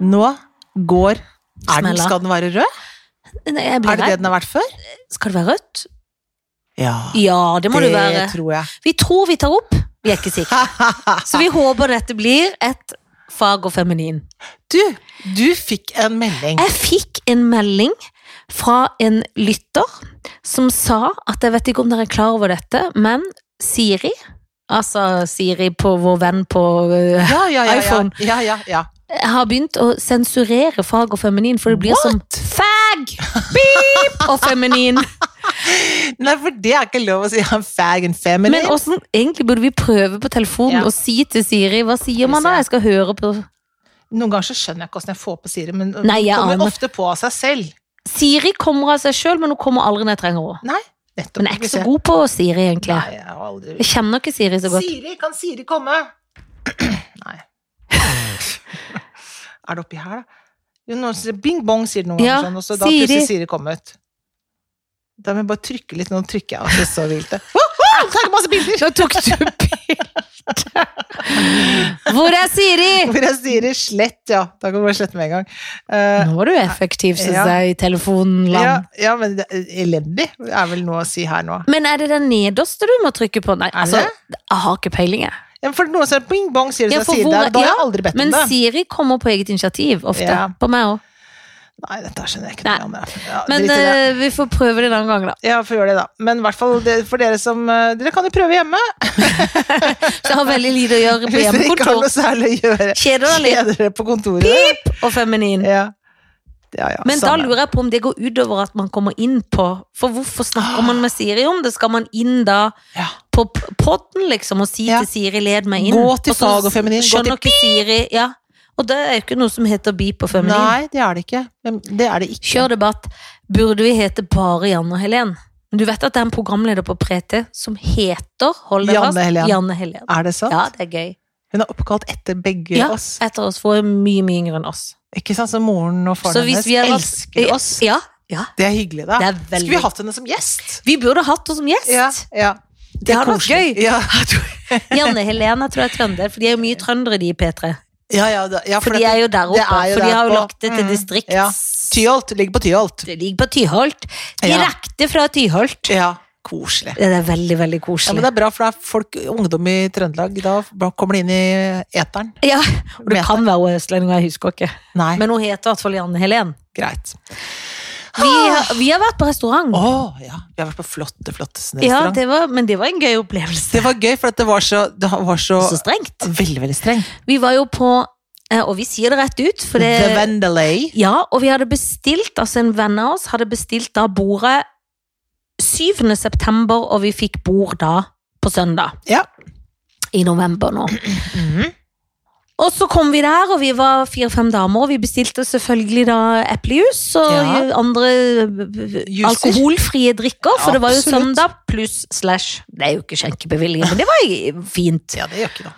nå går er den, Smella. Skal den være rød? Nei, jeg Er blir det det redd. den har vært før? Skal det være rødt? Ja, Ja, det må det være. tror jeg. Vi tror vi tar opp, vi er ikke sikre. Så vi håper dette blir et fag og feminin. Du, du fikk en melding. Jeg fikk en melding fra en lytter som sa at jeg vet ikke om dere er klar over dette, men Siri, altså Siri på vår venn på eh, Ja, ja, ja. ja, iPhone. ja, ja, ja. har begynt å sensurere fag og feminin, for det blir som fag, beep og feminin. Nei, for det er ikke lov å si. Han fag and Men feminine. hvordan, egentlig burde vi prøve på telefonen Ja. og si til Siri, hva sier man da? Jeg skal høre på Noen ganger så skjønner jeg ikke hvordan jeg får på Siri, men Nei, jeg hun kommer aner. ofte på av seg selv. Siri kommer av seg selv, men hun kommer aldri når jeg trenger henne. Nei, nettopp. Men jeg er ikke Hvis så god på Siri, egentlig. Nei, jeg har aldri... Jeg kjenner ikke Siri så godt. Siri, kan Siri komme? Nei. er det oppi her, da? Jo, noen sier bing bong, sier det noen Ja, ganger sånn, og så da Siri. plutselig Siri kom ut. Da må jeg bare trykke litt, nå trykker jeg, og så så vilt det. Takk masse bilder! Nå tok du bilde. Hvor er Siri? Hvor jeg sier slett, ja. Da kan du bare slette med en gang. Eh, Nå var du effektiv, synes Ja. jeg, i telefonland. ja, ja, men det- elendig er vel noe å si her nå. Men er det den nederste du må trykke på? Nei, Er altså, jeg har ikke peiling, jeg. Ja, for noen sier bing bong, sier Ja, det, så for sier hvor- det. Da har jeg ja, aldri bedt om Men det. Siri kommer på eget initiativ ofte. Ja. På meg òg. Nei, dette skjønner jeg ikke Nei. noe om. jeg. Ja, Men drit i det. eh, vi får prøve det en annen gang, da. Ja, får gjøre det, da. Men i hvert fall det, for dere som eh, Dere kan jo prøve hjemme. Det har veldig lite å gjøre på Hvis dere ikke har hjemmekontor. noe særlig å gjøre. Kjeder deg litt. Kjeder dere på kontoret. Og feminin. Ja. Ja, ja, Men da samme. lurer jeg på om det går utover at man kommer inn på For hvorfor snakker man med Siri om det? Skal man inn da Ja. på podden liksom og si Ja. til Siri 'led meg inn'? Gå til Og så fag og feminin, gå Skjønner ikke Siri Ja. Og det er jo ikke noe som heter beep og feminin. Nei, det er det ikke. Men Det er det ikke. Kjør debatt. Burde vi hete bare Janne og Helen? Men du vet at det er en programleder på Prete som heter hold deg Janne fast, Helen. Janne Helen. Er det sant? Ja, det er gøy. Hun er oppkalt etter begge Ja, oss. etter oss. For hun er mye, mye yngre enn oss. Ikke sant? Så moren og faren Så hvis hennes vi hadde- elsker oss. Ja, ja. Det er hyggelig, da. Det er veldig- Skulle vi hatt henne som gjest? Vi burde hatt henne som gjest. Ja, ja. Det, hadde vært koselig. gøy. Ja, Janne Helene tror jeg er trønder, for de er jo mye trøndere, de i P3. ja, ja, da- ja, For dette- de er jo der oppe, det er jo for de der har jo på- lagt det til Mm, distrikts... ja. Tyholt. Ligger på Tyholt. Det ligger på Tyholt. Direkte fra Tyholt. Ja, koselig. Det er veldig, veldig Ja, men koselig. det er bra, for det er folk, ungdom i Trøndelag, da b- kommer de inn i eteren. Ja, og det kan være hun er østlending, og jeg husker ikke. Nei, Men hun heter i hvert fall Janne Helen. greit. Vi, har- vi har vært på restaurant. Å, ja. Vi har vært på flotte, flotte Ja, restaurant. det var, men det var en gøy det... opplevelse. var gøy, for at det var så, det var så, Så strengt. veldig, veldig streng. Vi var jo på eh, Og vi sier det rett ut, for det The Vendelay. Ja, og vi hadde bestilt, altså en venn av oss hadde bestilt da bordet 7. september, og vi fikk bord da på søndag. Ja. I november nå. Mhm. Og så kom vi der, og vi var fire-fem damer, og vi bestilte selvfølgelig da eplejus og Ja. andre Juicer. alkoholfrie drikker, for det var jo Absolutt. søndag pluss slash Det er jo ikke skjenkebevilgning, men det var jo fint. Ja, det gjør ikke noe.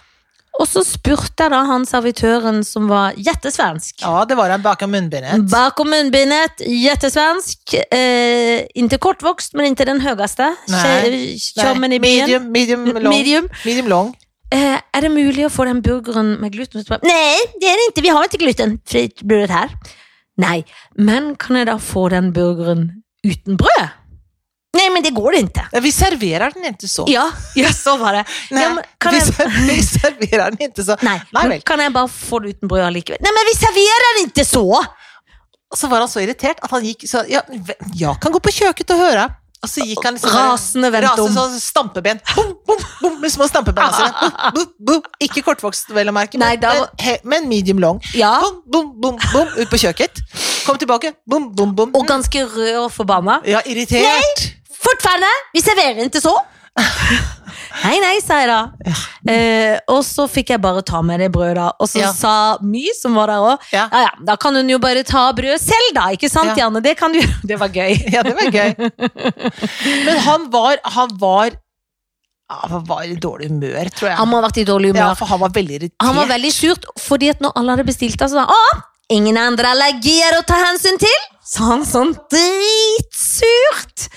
Og så spurte jeg da han servitøren som var jettesvensk. Ja, det var en bak av munnbindet. Bakom munnbindet, jettesvensk. Eh, ikke kortvokst, men ikke den høyeste. Nei. Kjømmen i byen. medium, medium, long. Medium, Medium. long. Eh, er det mulig å få den burgeren med gluten? Nei, det er det ikke. Vi har ikke glutenfritt brød her. Nei, men kan jeg da få den burgeren uten brød? Nei, men det går det ikke. Ja, Vi serverer den ikke så. Ja, ja så var det. Nei, ja, men, kan vi, jeg... ser, vi serverer den ikke så. Nei, Nei men vel. kan jeg bare få det uten brød allikevel? Nei, men vi serverer det ikke så! Og så var han så irritert at han gikk så, ja, Jeg kan gå på kjøkkenet og høre. Og så gikk han liksom Rasende vendt Raser om. sånn stampeben. Bom, bom, bom, med små stampeben. Altså. Bom, bom, bom. Ikke kortvokst, vel å merke, Nei, men, da var- men, he, men medium long. Ja, Bom, bom, bom, bom, ut på kjøkkenet. Kom tilbake. Bom, bom, bom. og ganske rød og forbanna. Ja, irritert. Fortfarande, vi serverer ikke så. Nei, nei, sa jeg da. Eh, og så fikk jeg bare ta med det brødet. da. Og så Ja. sa My, som var der òg, Ja. ja ja, da kan hun jo bare ta brød selv, da. Ikke sant, Ja. Janne? Det kan du Det var gøy. Ja, det var gøy. Men han var Han var, ja, han var i dårlig humør, tror jeg. Han må ha vært i dårlig ja, humør. for han var veldig irritert. Han var veldig surt, fordi at når alle hadde bestilt det, så sa han «Å, ingen andre allergier å ta hensyn til! Så han sånn dritsurt!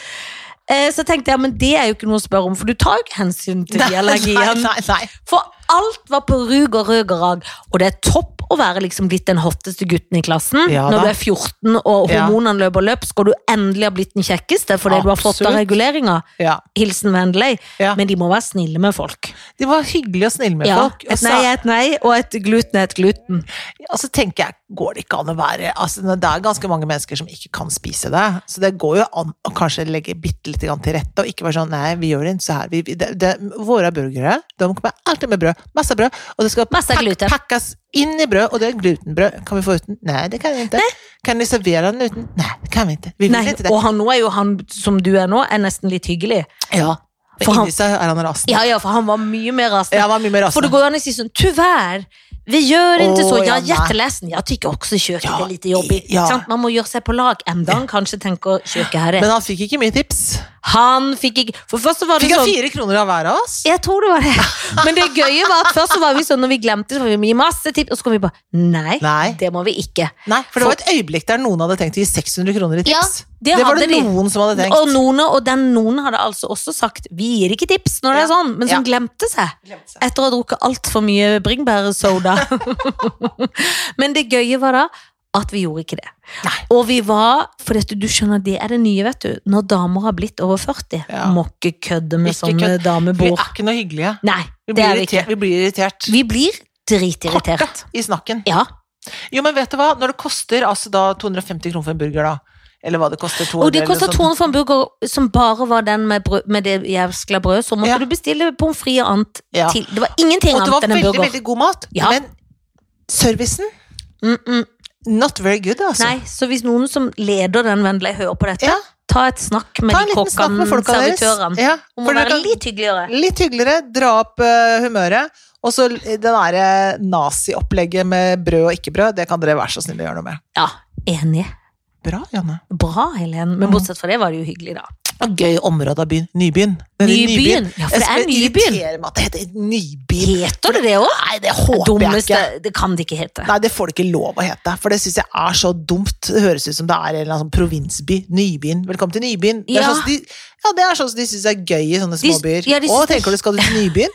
Eh, så tenkte jeg, men det er jo ikke noe å spørre om, for du tar jo ikke hensyn til de allergiene. Nei, nei, nei. For alt var på rug og rød og rag, og det er topp å være liksom blitt den hotteste gutten i klassen. Ja da. Når du er 14 og Ja. hormonene løper løp, skal du endelig ha blitt den kjekkeste fordi du har fått av Absolutt. reguleringa. Ja. Hilsen Vendeløy. Ja. Men de må være snille med folk. De var hyggelige og snille med Ja, folk. Og et så nei er et nei, og et gluten er et gluten. altså, tenker jeg, går det ikke an å være altså, Det er ganske mange mennesker som ikke kan spise det. Så det går jo an å kanskje legge bitte litt grann til rette, og ikke være sånn Nei, vi gjør det ikke så her. Vi, vi, det, det, våre burgere de kommer alltid med brød. Masse brød. Og det skal Masse gluten. pakkes inn i brød, og det er glutenbrød. Kan vi få uten? Nei, det kan vi ikke. Kan de servere den uten? Nei, det kan vi ikke. Vi vil Nei, ikke det. og han nå er jo han som du er nå, er nesten litt hyggelig. Ja, For Men han- inni seg er han rasende. Ja, ja, for han var mye mer rasende. Jeg var mye mer For det rasende. går jo an å si sånn, tyvärr, vi gjør ikke Åh, så, jeg ja, er nei. jätteledsen, jeg tycker også kjøket Ja, er litt jobbig. ja. Sant? Man må gjøre seg på lag, enda han kanskje tenker kjøket her er. Men han fikk ikke mye tips. Han fikk ikke, for først så var det Fikk han sånn, fire kroner av hver av oss? jeg tror det var det. Men det gøye var at først så var vi sånn, når vi glemte, så var vi med i masse tips, og så kom vi bare, nei, Nei. det må vi ikke. Nei, for det var et øyeblikk der noen hadde tenkt å gi 600 kroner i Ja, tips. det det, var hadde det de. noen som hadde tenkt. Og noen, og den noen hadde altså også sagt, vi gir ikke tips når det er Ja. sånn, men som glemte seg. Etter å ha drukket altfor mye bringebærsoda. Men det gøye var da at vi gjorde ikke det. Nei. Og vi var For dette, du skjønner, det er det nye, vet du. Når damer har blitt over 40, Ja. må ikke kødde med Ikke sånne kødd. Vi er damebord. ikke noe hyggelige. Nei, Vi det blir, er vi irritert, ikke. vi blir irritert Vi blir dritirritert. i snakken. Ja. Jo, men vet du hva? Når det koster altså da 250 kroner for en burger, da. Eller hva det koster. 200, Og det koster eller sånn. 200 for en burger som bare var den med, brød, med det jævskla brød, så måtte Ja. du bestille pommes frites og annet Ja. til. Det var ingenting Og det annet var enn en veldig, burger. veldig god mat. Ja. Men servicen Mm -mm. not very good, altså. Nei, så hvis noen som leder den Vendela hører på dette, Ja. ta et snakk med Ta en de liten snakk kokkene, med folka deres. servitørene. Ja, Hun for må dere være kan- litt hyggeligere. Litt hyggeligere, dra opp eh, humøret. Og så det derre naziopplegget med brød og ikke brød, det kan dere være så snille å gjøre noe med. Ja, enig. Bra, Janne. Bra, Helen. Men Mhm. bortsett fra det var det jo hyggelig, da. Og gøy område av byen. Nybyen. Denne Nybyen. Ja, for det er Jeg skulle Nybyen. irritere meg at det heter Nybyen. Heter det det òg? Nei, det håper jeg Dummeste, ikke. Det kan det ikke hete. Nei, det får det ikke lov å hete, for det syns jeg er så dumt. Det høres ut som det er en eller annen sånn provinsby. Nybyen. Velkommen til Nybyen. Det er Ja. sånn som de, ja, det er sånn som de syns er gøy i sånne De- småbyer. ja, de Å, synes- tenker du skal du til Nybyen?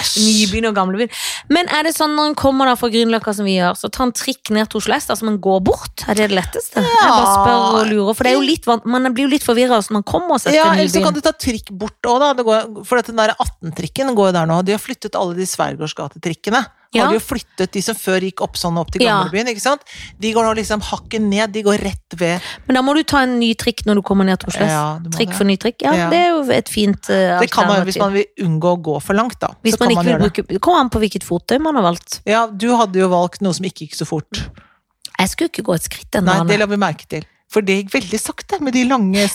Æsj. Nybyen og gamlebyen. Men er det sånn når en kommer da fra Grünerløkka, som vi gjør, så ta en trikk ned til Oslo S, altså man går bort? Er det det letteste? Jeg bare spør og lurer, for det er jo litt van man blir jo litt forvirra når man kommer seg til Mm. Ja, eller så kan Nybyen. du ta trikk bort òg, da. Det går, for at den der 18-trikken går jo der nå. De har flyttet alle de Sverigårds gate-trikkene. Ja. Har de jo flyttet de som før gikk opp sånn opp til Ja. Gamlebyen, ikke sant? De går nå liksom hakket ned. De går rett ved Men da må du ta en ny trikk når du kommer ned til Oslo S. Ja, du må Trikk det. for ny trikk. Ja, Ja. det er jo et fint eh, Det kan man hvis alternativ. man vil unngå å gå for langt, da. Hvis Så man kan ikke vil gjøre det. bruke Det kommer an på hvilket fottøy man har valgt. Ja, du hadde jo valgt noe som ikke gikk så fort. Jeg skulle ikke gå et skritt ennå. Nei, det Anne. la vi merke til. For det gikk veldig sakte med de lange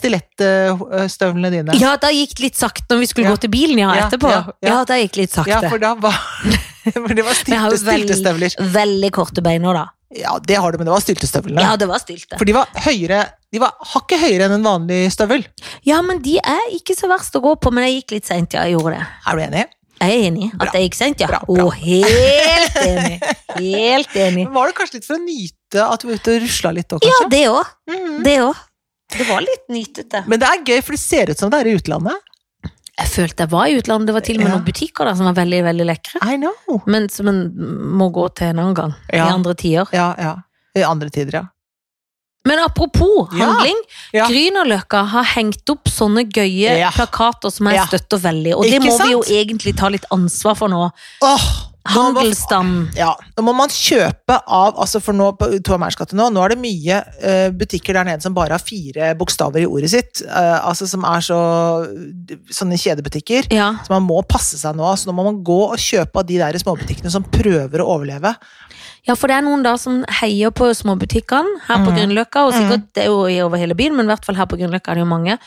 stilettstøvlene dine. Ja, da gikk det litt sakte når vi skulle Ja. gå til bilen, ja, Ja, etterpå. Ja, ja, ja. da gikk det litt sakte. Ja, for da var For det var Men jeg har stylte, jo stylte støvler. veldig, veldig korte bein nå, da. Ja, det har du, men det var styltestøvlene. Ja, det var stilte. For de var høyere De var hakket høyere enn en vanlig støvel. Ja, men de er ikke så verst å gå på, men jeg gikk litt seint, ja. Jeg gjorde det. Er du enig? Jeg er enig at Bra. jeg gikk seint, ja. Bra, Å, bra. helt enig. Helt enig. Men Var det kanskje litt for å nyte at du var ute og rusla litt òg, Mm. Ja, kanskje? det òg. Mhm. Det òg. Det var litt nytete. Men det er gøy, for det ser ut som det er i utlandet. Jeg følte jeg var i utlandet. Det var til og med Ja. noen butikker der som var veldig, veldig lekre. I know. Men som en må gå til en annen gang. I Ja. andre tider. Ja, ja. I andre tider, ja. Men apropos Ja. handling. Ja. Grünerløkka har hengt opp sånne gøye Ja. plakater som jeg Ja. støtter veldig, og det Ikke må sant? vi jo egentlig ta litt ansvar for nå. Åh, nå må- Handelsstand. Ja, nå må man kjøpe av altså For nå på Tormeirsgata nå, nå er det mye eh, butikker der nede som bare har fire bokstaver i ordet sitt. eh, altså som er så Sånne kjedebutikker. Ja. Så man må passe seg nå. Altså nå må man gå og kjøpe av de der småbutikkene som prøver å overleve. ja, for det er noen da som heier på småbutikkene her på Mhm. Grünerløkka, og sikkert det er jo i over hele byen, men i hvert fall her på Grünerløkka er det jo mange.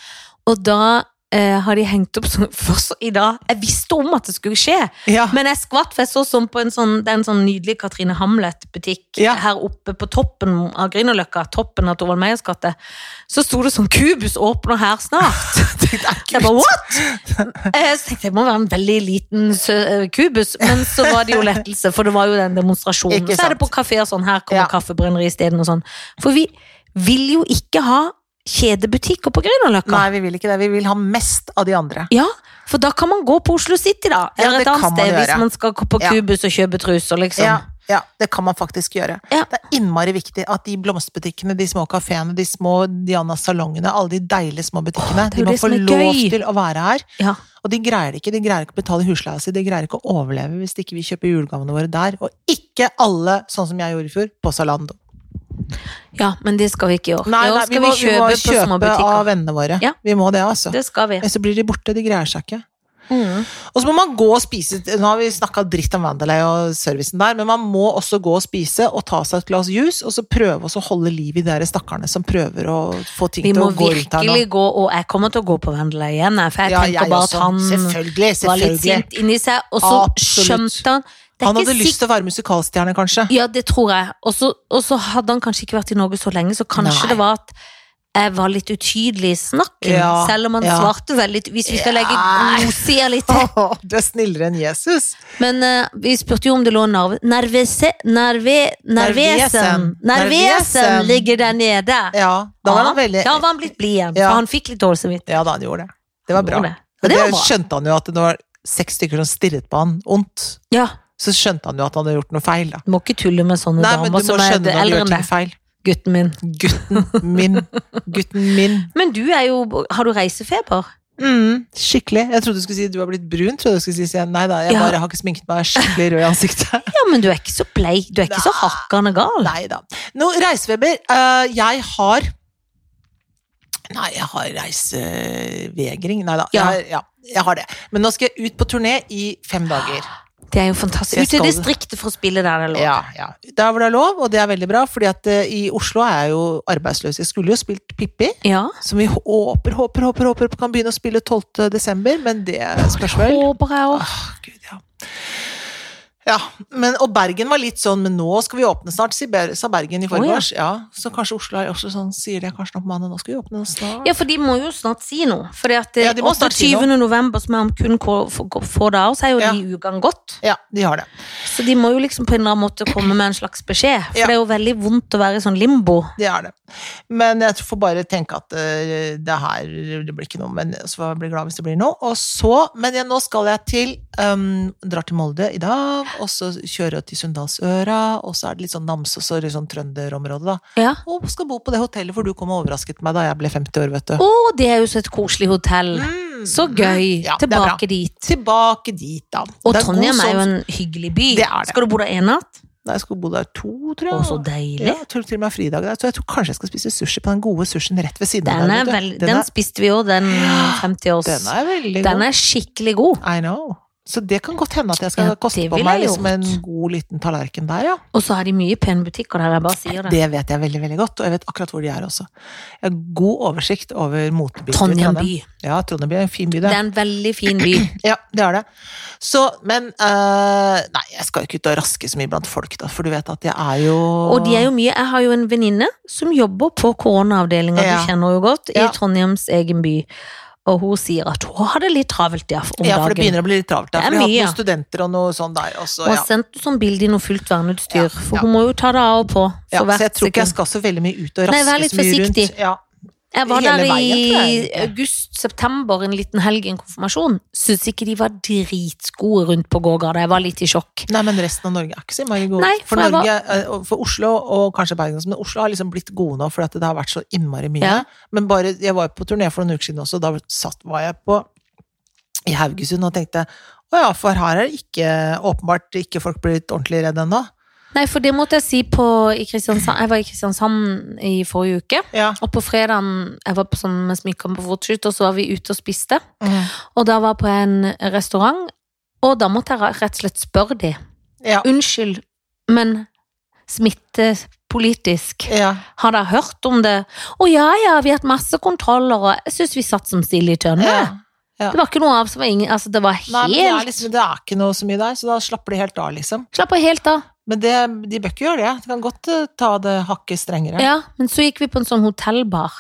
Og da eh, har de hengt opp sånn først i dag. Jeg visste om at det skulle skje, Ja. Men jeg skvatt, for jeg så sånn på en sånn, det er en sånn nydelig Katrine Hamlet-butikk Ja. her oppe på toppen av Grünerløkka, toppen av Torvald Meyers gate. Så sto det sånn 'Kubus åpner her snart'. Jeg bare, what? Eh, Så tenkte jeg, det må være en veldig liten sø eh, kubus, men så var det jo lettelse, for det var jo den demonstrasjonen. Ikke Så er sant. det på kaféer sånn, her Ja. kommer kaffebrenneri isteden og sånn. For vi vil jo ikke ha kjedebutikker på Grünerløkka. Nei, vi vil ikke det. Vi vil ha mest av de andre. Ja, for da kan man gå på Oslo City, da. Ja, Eller det et annet kan man sted, hvis gjøre. man skal gå på Ja. Kubus og kjøpe truser, liksom. Ja. Ja, det kan man faktisk gjøre. Ja. Det er innmari viktig at de blomsterbutikkene, de små kafeene, de små Diana-salongene, alle de deilige små butikkene, Åh, det er de jo må det få som er lov gøy. til å være her. Ja. Og de greier det ikke. De greier ikke å betale husleia si, de greier ikke å overleve hvis ikke vi kjøper julegavene våre der. Og ikke alle, sånn som jeg gjorde i fjor, på Zalando. ja, men det skal vi ikke gjøre. Nei, I år nei, skal vi må, vi må på små kjøpe butikker. av vennene våre. Ja. Vi må det, altså. Det skal vi. Ellers så blir de borte, de greier seg ikke. Mm. Og så må man gå og spise Nå har vi snakka dritt om Vandelay og servicen der, men man må også gå og spise og ta seg et glass juice, og så prøve også å holde liv i de der stakkarene som prøver å få ting Vi til må å gå rundt her nå. virkelig gå, og jeg kommer til å gå på Vendela igjen, jeg, for jeg tenkte bare at han Selvfølgelig, var litt selvfølgelig. sint inni seg, og så Absolutt. skjønte han det er Han ikke hadde lyst til å være musikalstjerne, kanskje. Ja, det tror jeg. Og så, og så hadde han kanskje ikke vært i Norge så lenge, så kanskje Nei. det var at jeg var litt utydelig i snakken, Ja, selv om han ja. svarte veldig Hvis vi skal legge Ja. godsier litt til. Åh, Du er snillere enn Jesus. Men eh, vi spurte jo om det lå narve... Nervese... Nerve... Nervesen. Nervesen. Nervesen Nervesen. ligger der nede. Ja, da var han veldig Da var han blitt blid igjen, Ja. for han fikk litt dårlig samvittighet. Ja da, han gjorde det. Det var bra. Det. Ja, Men det det var bra. skjønte han jo at det var seks stykker som stirret på han ondt. Ja, Så skjønte han jo at han hadde gjort noe feil, da. du må ikke tulle med sånne Nei, men du damer må som er skjønne når du eldre gjør enn ting deg, feil. gutten min. Gutten min. Gutten min. Men du er jo Har du reisefeber? Mm, skikkelig. Jeg trodde du skulle si du har blitt brun. Trodde du skulle si, si Nei da, jeg Ja. bare har ikke sminket meg. Jeg er skikkelig rød i ansiktet. Ja, men du er ikke så bleik. Du er ikke så Nei. hakkande gal. Nei da. Nå, reiseveber. eh, jeg har Nei, jeg har reisevegring. Nei da. Ja. Jeg, har- ja, jeg har det. Men nå skal jeg ut på turné i fem dager. Det er jo fantastisk. Jeg Ut i skal- distriktet for å spille der det lå. Ja, ja. Der hvor det er lov, og det er veldig bra, fordi at eh, i Oslo er jeg jo arbeidsløs. Jeg skulle jo spilt Pippi. Ja. Som vi håper, håper, håper, håper kan begynne å spille 12. desember, men det spørs vel. Håper jeg òg. Åh, Gud, ja. Ja, men, og Bergen var litt sånn, men nå skal vi åpne snart, sier Ber- sa Bergen i Å, ja. forgårs. ja. så kanskje Oslo er også sånn, sier de kanskje nå på mandag, nå skal vi åpne snart. Ja, for de må jo snart si noe. eh, For Ja, de må snart si 28. november, som er om kun ko- få få dager, så er jo Ja. de ukene gått. Ja, de har det. Så de må jo liksom på en eller annen måte komme med en slags beskjed. For Ja. det er jo veldig vondt å være i sånn limbo. Det er det. Men jeg tror- får bare tenke at eh, det her det blir ikke noe, men så får jeg bli glad hvis det blir noe. Og så, men jeg, nå skal jeg til um, Drar til Molde i dag, og så kjører jeg til Sunndalsøra, og så er det litt sånn Namsos og litt sånn trønderområde, da. Ja. Og skal bo på det hotellet, for du kom og overrasket meg da jeg ble 50 år, vet du. Å, det er jo så et koselig hotell. Mm. Så gøy. Ja, det er bra. Tilbake dit. Tilbake dit, da. Og Det er Trondheim god er jo sånn- en hyggelig by. Det er det. Skal du bo der en natt? Nei, jeg skulle bo der to, tror Å, jeg. så deilig. Ja, jeg tror til og med fridag der. Så jeg tror kanskje jeg skal spise sushi på den gode sushien rett ved siden Den, av er der. vel, vet du. den, spiste vi jo, den 50-års. den er veldig god. Den er skikkelig god. I know. Så det kan godt hende at jeg skal Ja, koste det på ville meg jeg liksom en gjort. god liten tallerken der, ja. Og så har de mye pene butikker der, jeg bare sier det. Det vet jeg veldig veldig godt, og jeg vet akkurat hvor de er også. Jeg har god oversikt over motebildet. i Trondheim by. Ja, Trondheim by er en fin by, Det det. er en veldig fin by. Ja, det er det. Så, men øh, Nei, jeg skal jo ikke ut og raske så mye blant folk, da, for du vet at jeg er jo Og de er jo mye Jeg har jo en venninne som jobber på koronaavdelinga, Ja. du kjenner jo godt, i Ja. Trondheims egen by. Og hun sier at hun har det litt travelt ja, om Ja, for det dagen. begynner å bli litt travelt der. Det er For vi har hatt mye, ja. noen studenter og noe sånn der også, Hun har ja. sendt sånn bilde i noe fullt verneutstyr, Ja, for ja. hun må jo ta det av og på. For ja. Så hvert jeg tror ikke jeg sekund. skal så veldig mye ut og Nei, raske vær litt så mye rundt. forsiktig. Ja, Jeg var Hele der veien, tror jeg, i egentlig. august-september, en liten helg, i en konfirmasjon. Syns ikke de var dritgode rundt på gågata. Jeg var litt i sjokk. Nei, men resten av Norge er ikke så innmari god. Nei, for, for jeg var- Norge, eh, og for Oslo og kanskje Bergen også, men Oslo har liksom blitt gode nå fordi at det har vært så innmari mye. Ja. Men bare, jeg var jo på turné for noen uker siden også, da satt, var jeg på i Haugesund og tenkte å ja, for her er det ikke åpenbart ikke folk blitt ordentlig redde ennå. Nei, for det måtte jeg si på i Kristiansand. Jeg var i Kristiansand i forrige uke. Ja. Og på fredagen, jeg var på sånn med smykkene på fotoshoot, og så var vi ute og spiste. Mm. Og da var jeg på en restaurant, og da måtte jeg rett og slett spørre de. Ja. Unnskyld, men smittepolitisk. ja. Har dere hørt om det? Å ja, ja, vi har hatt masse kontroller, og jeg syns vi satt som stille i tønne. ja. ja. Det var ikke noe av som var ingen Altså, det var Nei, men det er, helt liksom, det er ikke noe så mye der, så da slapper de helt av, liksom. Slapp av helt av. Men det, de bør ikke gjøre det. De kan godt eh, ta det hakket strengere. Ja, men så gikk vi på en sånn hotellbar.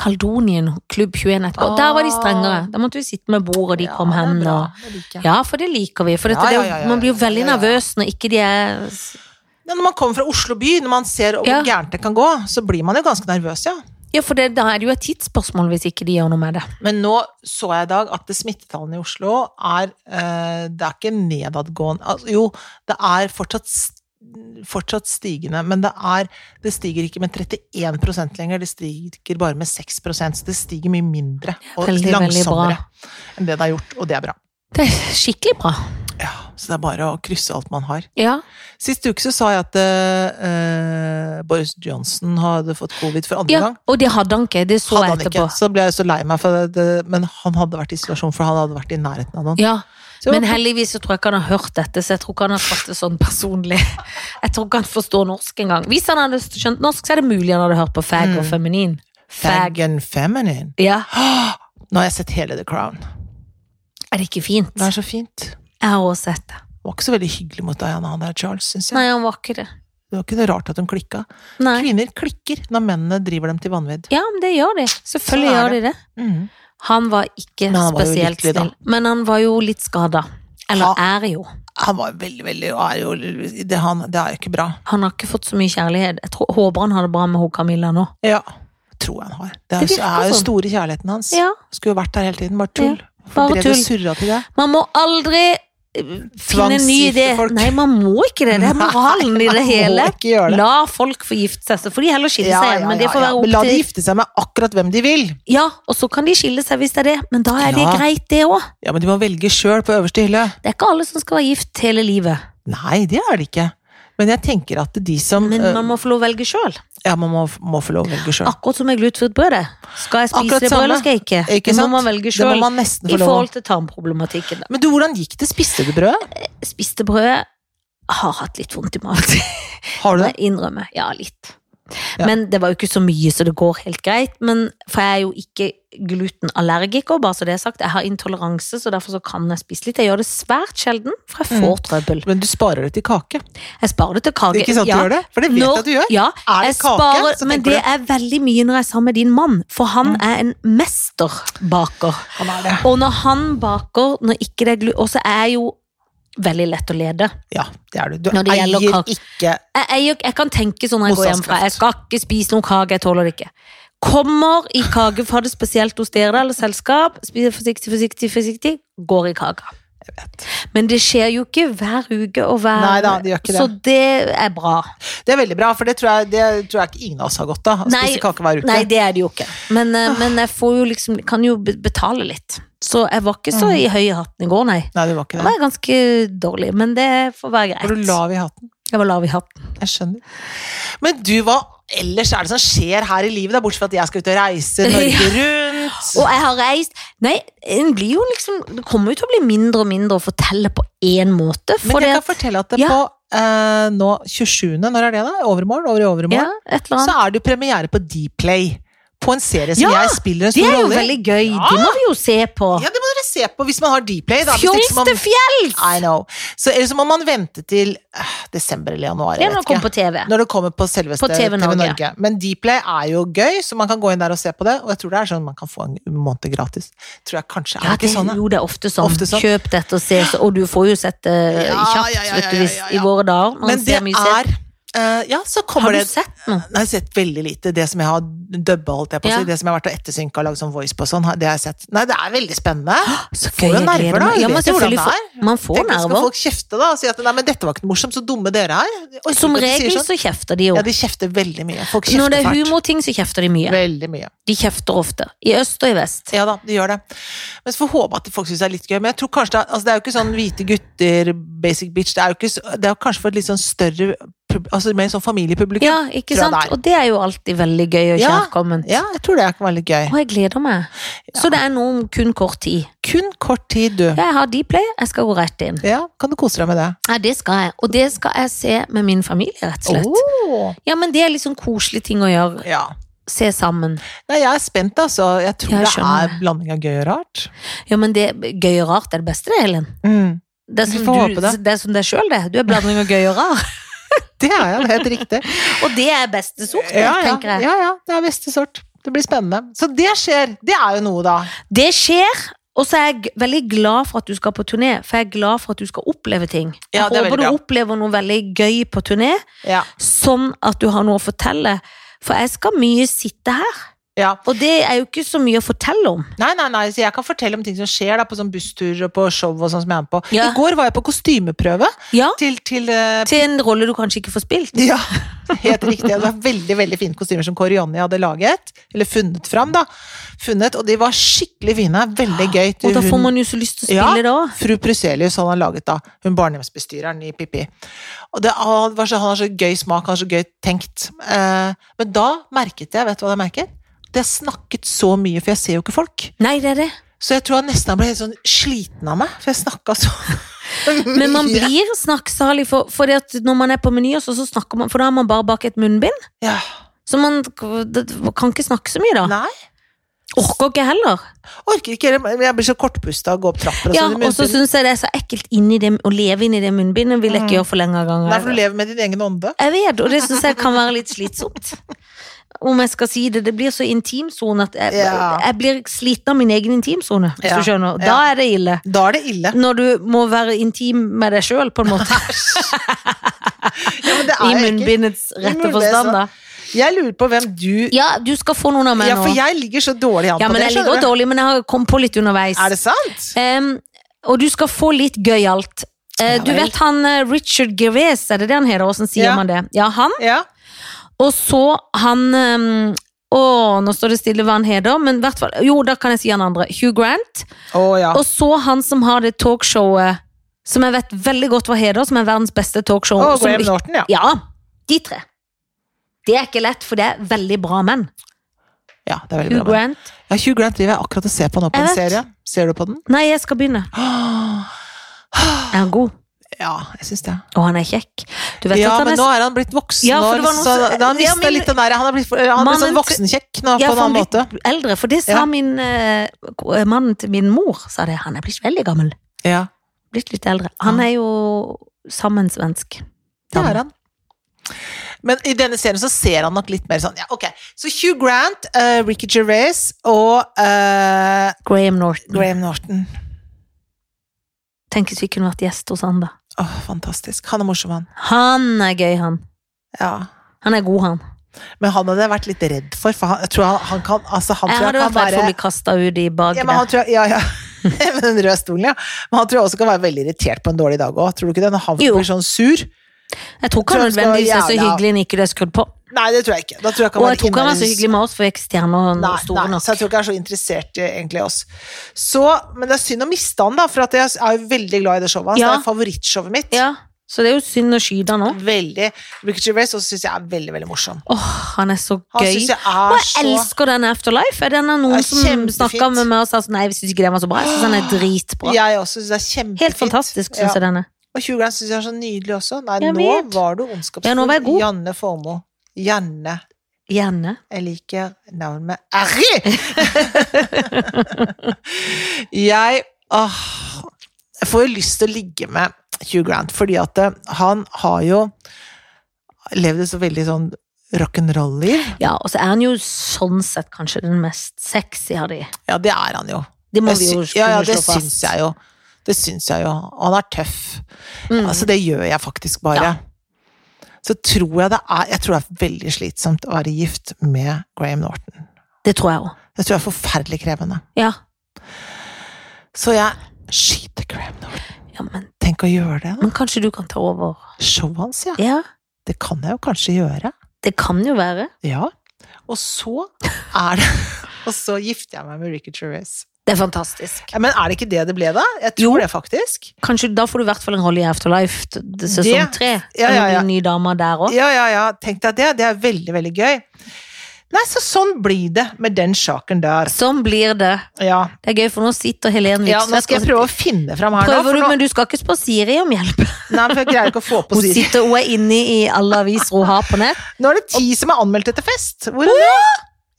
Kaldonien klubb 21 etterpå. Og Der var de strengere. Da måtte vi sitte med bord, og de kom det er hen. bra. Og... Det liker jeg. Ja, for det liker vi. For dette, Ja, det er ja, jo- ja, ja, man blir jo ja, veldig ja, ja. nervøs når ikke de er Ja, når man kommer fra Oslo by, når man ser hvor Ja. gærent det kan gå, så blir man jo ganske nervøs, ja. Ja, for det, da er det jo et tidsspørsmål hvis ikke de gjør noe med det. Men nå så jeg i dag at det smittetallene i Oslo er eh, Det er ikke nedadgående altså, Jo, det er fortsatt s- fortsatt stigende, men det er Det stiger ikke med 31 lenger, det stiger bare med 6 så det stiger mye mindre og Veldig, veldig langsommere bra. enn det det har gjort, og det er bra. Det er skikkelig bra. Ja, så det er bare å krysse alt man har. Ja. Sist uke så sa jeg at eh, Boris Johnson hadde fått covid for andre ja. gang. Og det hadde han ikke. Det så Hadde jeg han ikke, etterpå. så ble jeg så lei meg, for det, det, men han hadde vært i isolasjon, for han hadde vært i nærheten av noen. Ja. Så Men heldigvis så tror jeg ikke han har hørt dette, så jeg tror ikke han har tatt det sånn personlig. Jeg tror ikke han forstår norsk engang. Hvis han hadde skjønt norsk, så er det mulig han hadde hørt på fag og Mm. feminin. Fag. fag and feminine. Ja. Nå har jeg sett hele The Crown. Er det ikke fint? Det er så fint. Jeg har også sett det. Det var ikke så veldig hyggelig mot Diana han der, Charles, syns jeg. Nei, han var ikke det. Det var ikke noe rart at hun klikka. Nei. Kvinner klikker når mennene driver dem til vanvidd. Ja, men det gjør de. Selvfølgelig Sånn er gjør de det. Mhm. Han var ikke Men han var jo spesielt lykkelig, da. snill. Men han var jo litt skada. Eller er jo. Han var veldig, veldig og er jo, det, han, det er jo ikke bra. Han har ikke fått så mye kjærlighet. Jeg tror, håper han har det bra med hun Camilla nå. Ja. Tror jeg han har. Det er, Det det virker er jo sånn. store kjærligheten hans. Ja. Skulle jo vært der hele tiden. Bare tull. bare Drev og tull. surra til det. Man må aldri eh, finne en ny Tvangsgifte idé. folk. Nei, man må ikke det. Det er moralen i det Man hele. Må ikke gjøre det. La folk få gifte seg, så får de heller skille Ja, seg ja, igjen. Men det ja, får ja. være Men La opp de til gifte seg med akkurat hvem de vil. Ja, og så kan de skille seg hvis det er det, men da er det Ja. greit, det òg. Ja, men de må velge sjøl på øverste hylle. Det er ikke alle som skal være gift hele livet, Nei, det er det ikke. Men jeg tenker at de som men øh, man Ah, må få lov å velge sjøl. Ja, man må, må få lov å velge sjøl. Akkurat som med glutenfritt brød. det. Skal jeg spise Akkurat det brød, samme. eller skal jeg ikke? Ikke det må sant? man velge Det må sjøl. man nesten I få lov å forhold til tarmproblematikken. da. Men du, hvordan gikk det? Spiste du brødet? Spiste brød har hatt litt vondt i magen. Har du det? Jeg innrømmer. Ja, litt. Ja. Men det var jo ikke så mye, så det går helt greit. Men, for jeg er jo ikke glutenallergiker, bare så det er sagt. Jeg har intoleranse, så derfor så kan jeg spise litt. Jeg gjør det svært sjelden, for jeg Mm. får trøbbel. Men du sparer det til kake. Jeg sparer det til kake. Ikke sant du Ja. gjør det? For det vet Når- jeg at du gjør. Ja, Er det jeg kake, sparer, så men tenker det du- Mm. er veldig mye når jeg er sammen med din mann, for han er en mesterbaker. Han er det. Og når han baker, når ikke det er glu... Og så er jeg jo veldig lett å lede. Ja, det er du. Du Når det gjelder eier kake. ikke jeg, jeg, jeg kan tenke sånn når jeg går hjemmefra. Motstandskraft. Jeg skal ikke spise noen kake, jeg tåler det ikke. Kommer i kake fra det spesielt hos dere eller selskap. Spiser forsiktig, forsiktig, forsiktig. Går i kaka. Jeg vet. Men det skjer jo ikke hver uke og hver Nei da, det gjør ikke det. Så det er bra. Det er veldig bra, for det tror jeg, det tror jeg ikke ingen av oss har godt av. Å Nei. spise kake hver uke. Ah. Nei, det er det jo ikke. Men, eh, men jeg får jo liksom, kan jo be- betale litt. Så jeg var ikke Mm. så i høye hatten i går, nei. Nei, det var ikke Jeg det. var ganske dårlig, men det får være For du greit. lav i hatten. Jeg var lav i hatten. Jeg skjønner. Men du, hva ellers er det som skjer her i livet? da? Bortsett fra at jeg skal ut og reise Norge rundt. Og jeg har reist Nei, en blir jo liksom Det kommer jo til å bli mindre og mindre å fortelle på én måte. For Men det jeg at kan fortelle at det Ja. på eh, nå 27. Når er det, da? Overmorgen? Over i ja, overmorgen? et eller Så annet. er det jo premiere på Dplay. På en serie som Ja, jeg spiller en Det stor er jo rolle i. veldig gøy. Det må vi jo se på. sånn Ja, det må dere se på hvis man har Dplay. da. Hvis ikke så må Fjols man- til fjells! I know. Så ellers må man vente til eh, desember eller januar. Det Jeg må vet komme ikke. på TV. Når det kommer på selveste På TV TV Norge. Norge. Men Dplay er jo gøy, så man kan gå inn der og se på det. Og jeg tror det er sånn man kan få en måned gratis. Tror jeg kanskje Ja, er det, ikke sånn. da? jo, det er ofte sånn. Ofte sånn. Kjøp dette og se, så, og du får jo sett det eh, Ja, kjapt ja, ja, vet ja, du, ja, hvis, ja. i våre dager. Man Men det ser mye er selv. eh, Ja, så kommer Har du det sett noe? Nei, jeg har sett veldig lite. Det som jeg har dubba, holdt jeg på å si. Ja. Det som jeg har vært og ettersynka og lagd sånn voice på og sånn, har- det har jeg sett. Nei, det er veldig spennende. Så Får jo jeg nerver, gleder da. meg. Du Ja, men vet jo hvordan selvfølgelig det sånn får, man får Tenk, skal nerver. folk kjefte da og si at nei, men dette var ikke noe morsomt, så dumme dere er. Jeg orker Som ikke at de sier regel sånn. så kjefter de jo. Ja, de kjefter veldig mye. Folk kjefter Når det er fælt. humorting, så kjefter de mye. Veldig mye. De kjefter ofte. I øst og i vest. Ja da, de gjør det. Men så får vi håpe at folk syns det er litt gøy. Men jeg tror kanskje det er, altså det er jo ikke sånn hvite gutter, basic bitch. Det er jo ikke, så- det er jo kanskje for et litt sånn større pub- Altså mer sånn familiepublikum. Ja, ikke tror jeg sant? det er. Og det er jo alltid veldig gøy og Ja, kjærkomment. Ja, jeg tror det kan være litt gøy. Og jeg gleder meg. Så det er nå om kun kort tid. Kun kort tid, du. Jeg har Dplay, jeg skal gå rett inn. Ja, kan du kose deg med det? Ja, det skal jeg. Og det skal jeg se med min familie, rett og slett. Åh. Oh. Ja, men det er liksom koselige ting å gjøre. Oh. Ja. Se sammen. Nei, jeg er spent, altså. Jeg tror Jeg det skjønner er blanding av gøy og rart. Ja, men det gøy og rart er det beste, det, Helen. Mm. Det er Vi som får du, håpe det. det er som deg sjøl, det. Du er blanding av gøy og rar. Det er jeg, det er helt riktig. Og det er beste sort, Ja ja, tenker jeg. ja ja, det er beste sort. Det blir spennende. Så det skjer. Det er jo noe, da. Det skjer. Og så er jeg g- veldig glad for at du skal på turné, for jeg er glad for at du skal oppleve ting. Jeg Ja, det er håper du veldig bra. opplever noe veldig gøy på turné, Ja. sånn at du har noe å fortelle. For jeg skal mye sitte her. Ja. Og det er jo ikke så mye å fortelle om. Nei, nei, nei, så jeg kan fortelle om ting som skjer da, på sånn bussturer og på show og sånn som jeg er med på. Ja. I går var jeg på kostymeprøve Ja, til, til eh, Til en rolle du kanskje ikke får spilt. Ja, helt riktig. Det var veldig veldig fine kostymer som Kåre Jonny hadde laget. Eller funnet fram, da. Funnet, og de var skikkelig fine. Veldig gøy. Og da får Hun- man jo så lyst til å spille det òg. Fru Pruselius hadde han laget da. Hun barnehjemsbestyreren i Pippi. Og det, han, var så, han har så gøy smak, han har så gøy tenkt. Eh, men da merket jeg, vet du hva jeg merket? At jeg snakket så mye, for jeg ser jo ikke folk. Nei, det er det. Så jeg tror jeg nesten ble helt sånn sliten av meg, for jeg snakka så Men man mye. blir snakksalig, for, for det at når man er på Meny, også, så snakker man, for da er man bare bak et munnbind. ja. Så man det, kan ikke snakke så mye da. Nei. Orker ikke heller. Orker ikke, heller, jeg blir så kortpusta av å gå opp trapper. og Ja, sånn i og så munnbind. syns jeg det er så ekkelt inni det, å leve inni det munnbindet, vil jeg ikke gjøre for lenge av Mm. Nei, for du gangen. lever med din egen ånde. Jeg vet, og det syns jeg kan være litt slitsomt. Om jeg skal si det. Det blir så intimsone at jeg, Ja. jeg blir sliten av min egen intimsone, hvis Ja. du skjønner. Da Ja. er det ille. Da er det ille. Når du må være intim med deg sjøl, på en måte. Ja, men det er I ekkelt. munnbindets rette munnbindet, forstand, da. Jeg lurer på hvem du Ja, du skal få noen av meg Ja, nå. for jeg ligger så dårlig an Ja, på men det. jeg skjønner ligger du. dårlig, men jeg har kommet på litt underveis. Er det sant? Em, og du skal få litt gøyalt. Eh, Ja du vel. vet han eh, Richard Gervais, er det det han heter? Åssen sier Ja. man det? Ja, han. Ja. Og så han em, Å, nå står det stille hva han heter, men i hvert fall Jo, da kan jeg si han andre. Hugh Grant. Å ja. Og så han som har det talkshowet som jeg vet veldig godt hva heter, som er verdens beste talkshow. Og som Graham ikke- Norton, ja. ja, de tre. Det er ikke lett, for det er veldig bra menn. Ja, det er veldig Hugh bra. Grant. Ja, Hugh Grant driver jeg akkurat og ser på nå på Jeg en vet. serie. Ser du på den? Nei, jeg skal begynne. Åh, Er han god? Ja, jeg syns det. Og han er kjekk. Du vet Ja, at han men er nå er han blitt voksen. Ja, for og det var så, noen som- da har han Ja, mistet men- litt den der. Han har blitt, han har blitt sånn Mannen- voksenkjekk nå, på Ja, for en han annen måte. blir eldre, for det sa Ja. min eh, ko- mannen til min mor. Sa det. Han er blitt veldig gammel. Ja, Blitt litt eldre. Han Ja. er jo sammensvensk. det er han. Men i denne serien så ser han nok litt mer sånn ja, ok. Så Hugh Grant, eh, Ricky Gervais og eh, Graham Norton. Graham Norton. Tenk hvis vi kunne vært gjest hos han, da. Åh, fantastisk. Han er morsom, han. Han er gøy, han. Ja. Han er god, han. Men han hadde jeg vært litt redd for, for han, jeg tror han, han kan altså, han Jeg tror hadde kan vært redd for å være- bli kasta ut i bak Ja, men han der. tror, ja, ja. Med den røde stolen, ja. Men han tror jeg også kan være veldig irritert på en dårlig dag òg. Tror du ikke det? Når han Jo. blir sånn sur? Jeg tror ikke tror han han skal nødvendigvis er så jævla- hyggelig når ikke det er skrudd på. Nei, det tror jeg ikke. Da tror jeg ikke Og han jeg tror ikke han var så innmari- hyggelig med oss, for vi er ikke stjerner Nei, nei, store så jeg nok. tror ikke han er så interessert i egentlig oss. Så, men det er synd å miste han, da, for at jeg er jo veldig glad i det showet hans. Ja. Det er favorittshowet mitt. Ja, så det er jo synd å skyte han òg. Veldig. Ricky Gervais også syns jeg er veldig, veldig morsom. Åh, han er så Han gøy. syns jeg Og er jeg så elsker den Afterlife. Er den Ja, noen som kjempefint. snakka med meg og sa sånn, nei, vi syns ikke den var så bra? Jeg syns den er dritbra. Jeg også syns det er kjempefint. Helt fantastisk, syns Ja. jeg den er. Og Hugh Grant syns jeg er så nydelig også. Nei, Jeg nå vet. var du ondskapsfull. Ja, nå var jeg god. Janne Formoe. Janne. Gjerne. Jeg liker navnet Arry! jeg åh, Jeg får jo lyst til å ligge med Hugh Grant, fordi at eh, han har jo levd et så veldig sånn rock'n'roll-liv. Ja, og så er han jo sånn sett kanskje den mest sexy av de. Ja, det er han jo. Det må Jeg vi jo sy- kunne ja, ja, det slå fast. syns jeg jo. Det syns jeg jo. Og han er tøff. Mm. Altså, det gjør jeg faktisk bare. Ja. Så tror jeg det er Jeg tror det er veldig slitsomt å være gift med Graham Norton. Det tror jeg òg. Jeg tror det er forferdelig krevende. Ja. Så jeg skyter Graham Norton. ja men, Tenk å gjøre det, da. men kanskje du kan ta over? Showet hans, ja. Ja, Det kan jeg jo kanskje gjøre. det kan jo være. Ja. Og så er det Og så gifter jeg meg med Ricky Gervais. Det er fantastisk. Ja, Men er det ikke det det ble, da? Jeg tror det, faktisk. Kanskje Da får du i hvert fall en rolle i Afterlife t- t- sesong Det- tre. ja, Kan ja, du bli ja. en ny dame der òg. Ja, ja, ja. Tenk deg det. Det er veldig, veldig gøy. Nei, så sånn blir det med den saken der. Sånn blir det. Ja. Det er gøy, for nå sitter Helen ja nå skal Vikstvedt jeg prøve å finne fram her nå. Prøver For du, nå men du skal ikke spørre Siri om hjelp. nei, for jeg greier ikke å få på Hun Siri. sitter hun er inne i alle aviser hun har på nett. Nå er det ti som er anmeldt etter fest. Hvor er det?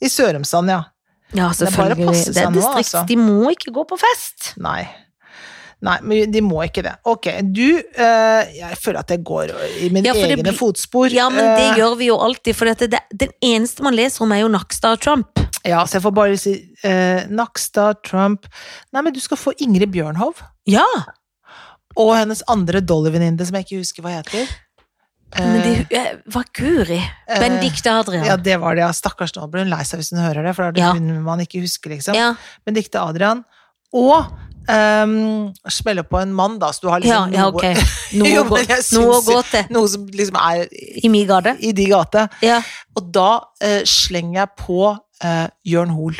I Sørumsand, ja. Ja, er bare å selvfølgelig. passe Det er seg nå, distrikts, altså. de må ikke gå på fest. Nei. Nei, men de må ikke det. Ok, du eh, Jeg føler at jeg går i mine Ja, for det egne blir- fotspor. Ja, men det Eh, gjør vi jo alltid, for dette, det, den eneste man leser om er jo Nakstad og Trump. Ja, så jeg får bare si eh, Nakstad, Trump Nei, men du skal få Ingrid Bjørnhov. Ja, Og hennes andre Dolly-venninne, som jeg ikke husker hva heter. Men det eh, var Guri. Eh, Benedicte Adrian. Ja, det var det. ja. Stakkars, nå blir hun lei seg hvis hun hører det, for da er det Ja. hun man ikke husker, liksom. Ja, Benedicte Adrian. Og ehm, smelle på en mann, da, så du har ja, liksom ja noe, ok. Noe, Jo, å gå, men jeg noe å syns- gå til. noe som liksom er I min gate. i de gate. Ja. Og da eh, slenger jeg på eh, Jørn Hoel.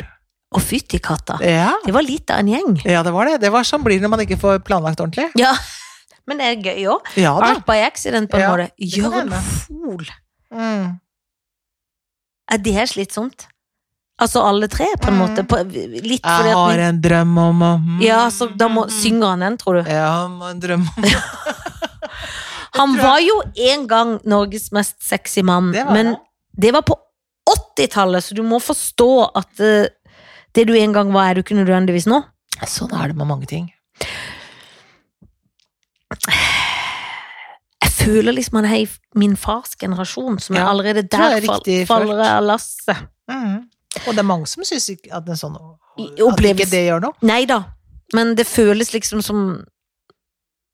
Å, fytti katta. Ja. Det var litt av en gjeng. ja, det var det. Det var sånn blir det når man ikke får planlagt ordentlig. Ja, men det er gøy òg. Ja da. Art by accident, på en Ja, måte. kan Jørn hende. Hoel. Mm. Er det er slitsomt? Altså alle tre, på en Mm. måte. På, litt fordi Jeg at har vi- en drøm om å mm, Ja, så da må, mm, synger han den, tror du. Jeg har en drøm om Han tror jeg. var jo en gang Norges mest sexy mann, Det var men det. det var på 80-tallet, så du må forstå at eh, det du en gang var, er du ikke nødvendigvis nå. Sånn er det med mange ting. Jeg føler liksom han er i min fars generasjon, som er Ja, allerede tror der jeg er fall, riktig faller følt. av lasset. Mm. Og det er mange som syns ikke at en sånn At opplevelse. ikke det gjør noe. Nei da, men det føles liksom som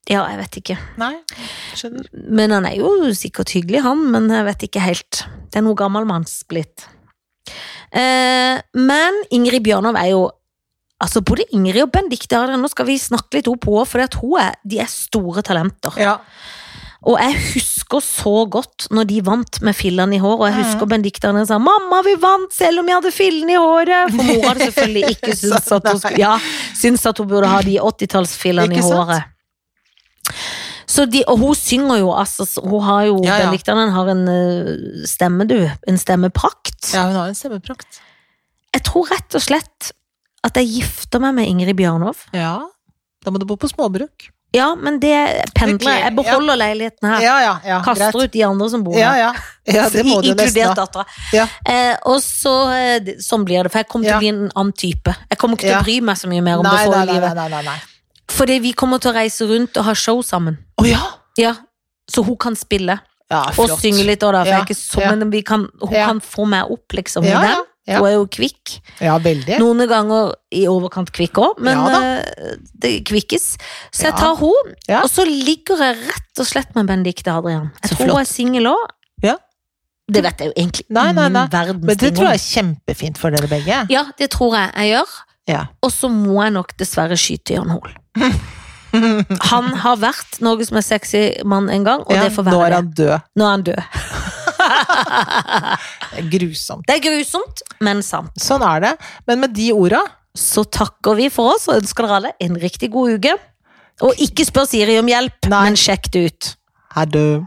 Ja, jeg vet ikke. Nei, skjønner. Men han er jo sikkert hyggelig, han, men jeg vet ikke helt. Det er noe gammelmanns blitt. Eh, men Ingrid Bjørnov er jo Altså, både Ingrid og Benedicte Adrian, nå skal vi snakke litt opp på henne, for at hun er, de er store talenter. Ja. Og jeg husker så godt når de vant med fillen i hår, og jeg Mhm. husker Benedicte Adrian sa 'mamma, vi vant selv om jeg hadde fillen i håret'. For mora hadde selvfølgelig ikke syntes at hun, skulle, ja, syntes at hun burde ha de 80-tallsfillene i Ikke sant? håret. Så de, og hun synger jo, altså, så hun har jo Ja, ja. Benedicte Adrian har en øh, stemme, du. En stemmeprakt. ja, hun har en stemmeprakt. Jeg tror rett og slett at jeg gifter meg med Ingrid Bjørnov. Ja. Da må du bo på småbruk. Ja, men det pendler jeg. Jeg beholder leiligheten her. Ja, ja. ja Kaster greit. ut de andre som bor her. Ja, ja. ja, det må du nesten Altså, Inkludert ha. dattera. Ja. Eh, og så, eh, det- sånn blir det, for jeg kommer til Ja. å bli en annen type. Jeg kommer ikke til Ja. å bry meg så mye mer om Nei, det nei, forrige nei. livet. nei, nei, nei. Fordi vi kommer til å reise rundt og ha show sammen. Å ja! Ja, Så hun kan spille, ja og Ah, flott. synge litt òg, da. For Ja. jeg er ikke så, Ja. men vi kan, hun Ja. kan få meg opp, liksom. i Ja, den. ja. Hun er jo kvikk. Ja, veldig. Noen ganger i overkant kvikk òg, men Ja da. eh, det kvikkes. Så jeg Ja. tar hun, Ja. og så ligger jeg rett og slett med Benedicte Adrian. Jeg Så tror flott. hun er singel òg. Ja. Det vet jeg jo egentlig Nei, nei, nei. ingen verdens Men det ting tror om. jeg er kjempefint for dere begge. Ja, det tror jeg jeg gjør. Ja. Og så må jeg nok dessverre skyte Jørn Hoel. Han har vært Norges mest sexy mann en gang, og Mm. Ja, det får Nå være er det. han død. Nå er han død. Det er Grusomt. Det er grusomt, men sant. Sånn er det. Men med de orda Så takker vi for oss og ønsker dere alle en riktig god uke. Og ikke spør Siri om hjelp, Nei. men sjekk det ut. er død.